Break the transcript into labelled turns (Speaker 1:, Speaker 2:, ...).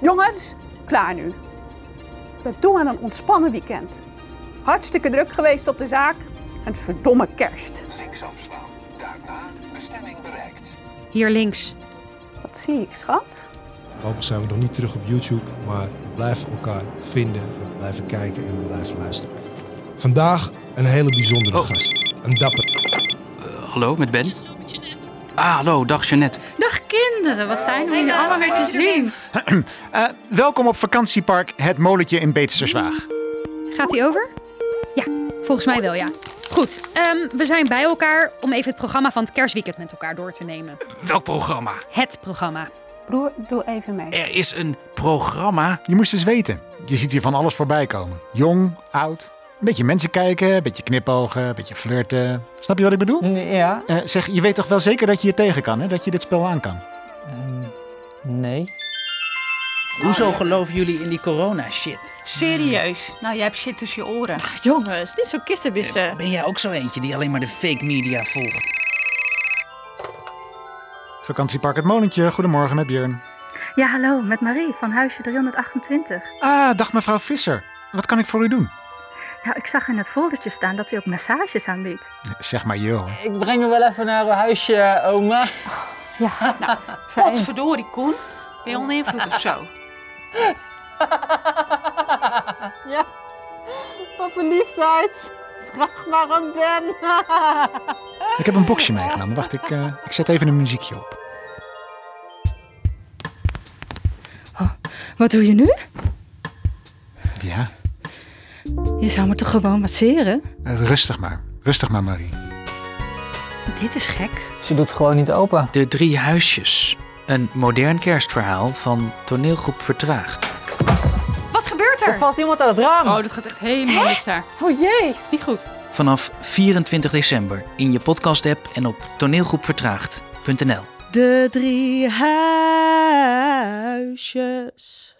Speaker 1: Jongens, klaar nu. Ik ben toe aan een ontspannen weekend. Hartstikke druk geweest op de zaak. En het is verdomme kerst.
Speaker 2: Links afslaan. Daarna bestemming bereikt.
Speaker 3: Hier links.
Speaker 1: Wat zie ik, schat?
Speaker 4: Voorlopig zijn we nog niet terug op YouTube, maar we blijven elkaar vinden, we blijven kijken en we blijven luisteren. Vandaag een hele bijzondere
Speaker 5: Oh.
Speaker 4: gast. Een dapper.
Speaker 5: Hallo, met Ben. Ah, hallo, dag Jeannette.
Speaker 3: Dag kinderen, wat fijn om jullie allemaal weer te zien.
Speaker 6: Eh, welkom op vakantiepark Het Molentje in Beetsterswaag.
Speaker 3: Gaat die over? Ja, volgens mij wel, ja. Goed, ehm, we zijn bij elkaar om even het programma van het kerstweekend met elkaar door te nemen.
Speaker 5: Welk programma?
Speaker 3: Het programma.
Speaker 1: Broer, doe even mee.
Speaker 5: Er is een programma.
Speaker 6: Je moest eens weten. Je ziet hier van alles voorbij komen. Jong, oud. Een beetje mensen kijken, een beetje knipogen, een beetje flirten. Snap je wat ik bedoel?
Speaker 7: Nee, Ja,
Speaker 6: Eh, zeg, je weet toch wel zeker dat je hier tegen kan, hè? Dat je dit spel aan kan.
Speaker 7: nee.
Speaker 8: Hoezo geloven jullie in die corona shit? Ah,
Speaker 9: Serieus? Nou, jij hebt shit tussen je oren.
Speaker 10: Jongens, dit is zo kissenwissen.
Speaker 8: Eh, Ben jij ook zo eentje die alleen maar de fake media volgt?
Speaker 6: Vakantiepark Het Molentje, goedemorgen met Björn.
Speaker 9: Ja, hallo, met Marie van huisje 328.
Speaker 6: Ah, dag mevrouw Visser. Wat kan ik voor u doen?
Speaker 9: Ja, Nou, ik zag in het foldertje staan dat u ook massages aanbiedt.
Speaker 6: Zeg maar joh.
Speaker 7: Ik breng me wel even naar uw huisje, eh, oma.
Speaker 9: Potverdorie, Koen.
Speaker 10: Ben je onder invloed of zo?
Speaker 11: Ja, van verliefdheid. Vraag maar aan Ben.
Speaker 6: Ik heb een boxje meegenomen. Wacht, ik, eh, ik zet even een muziekje op.
Speaker 9: Wat doe je nu?
Speaker 6: Ja,
Speaker 9: Je zou me toch gewoon masseren?
Speaker 6: eh, rustig maar. Rustig maar, Marie.
Speaker 3: Dit is gek.
Speaker 7: Ze doet gewoon niet open.
Speaker 5: De Drie Huisjes. Een modern kerstverhaal van toneelgroep Vertraagd.
Speaker 3: Wat gebeurt
Speaker 7: Er
Speaker 3: er?
Speaker 7: valt iemand uit het raam.
Speaker 10: Oh, dat gaat echt helemaal mis daar.
Speaker 3: Oh jee, is niet goed.
Speaker 5: Vanaf 24 december in je podcast-app en op toneelgroepvertraagd.nl.
Speaker 11: De drie huisjes.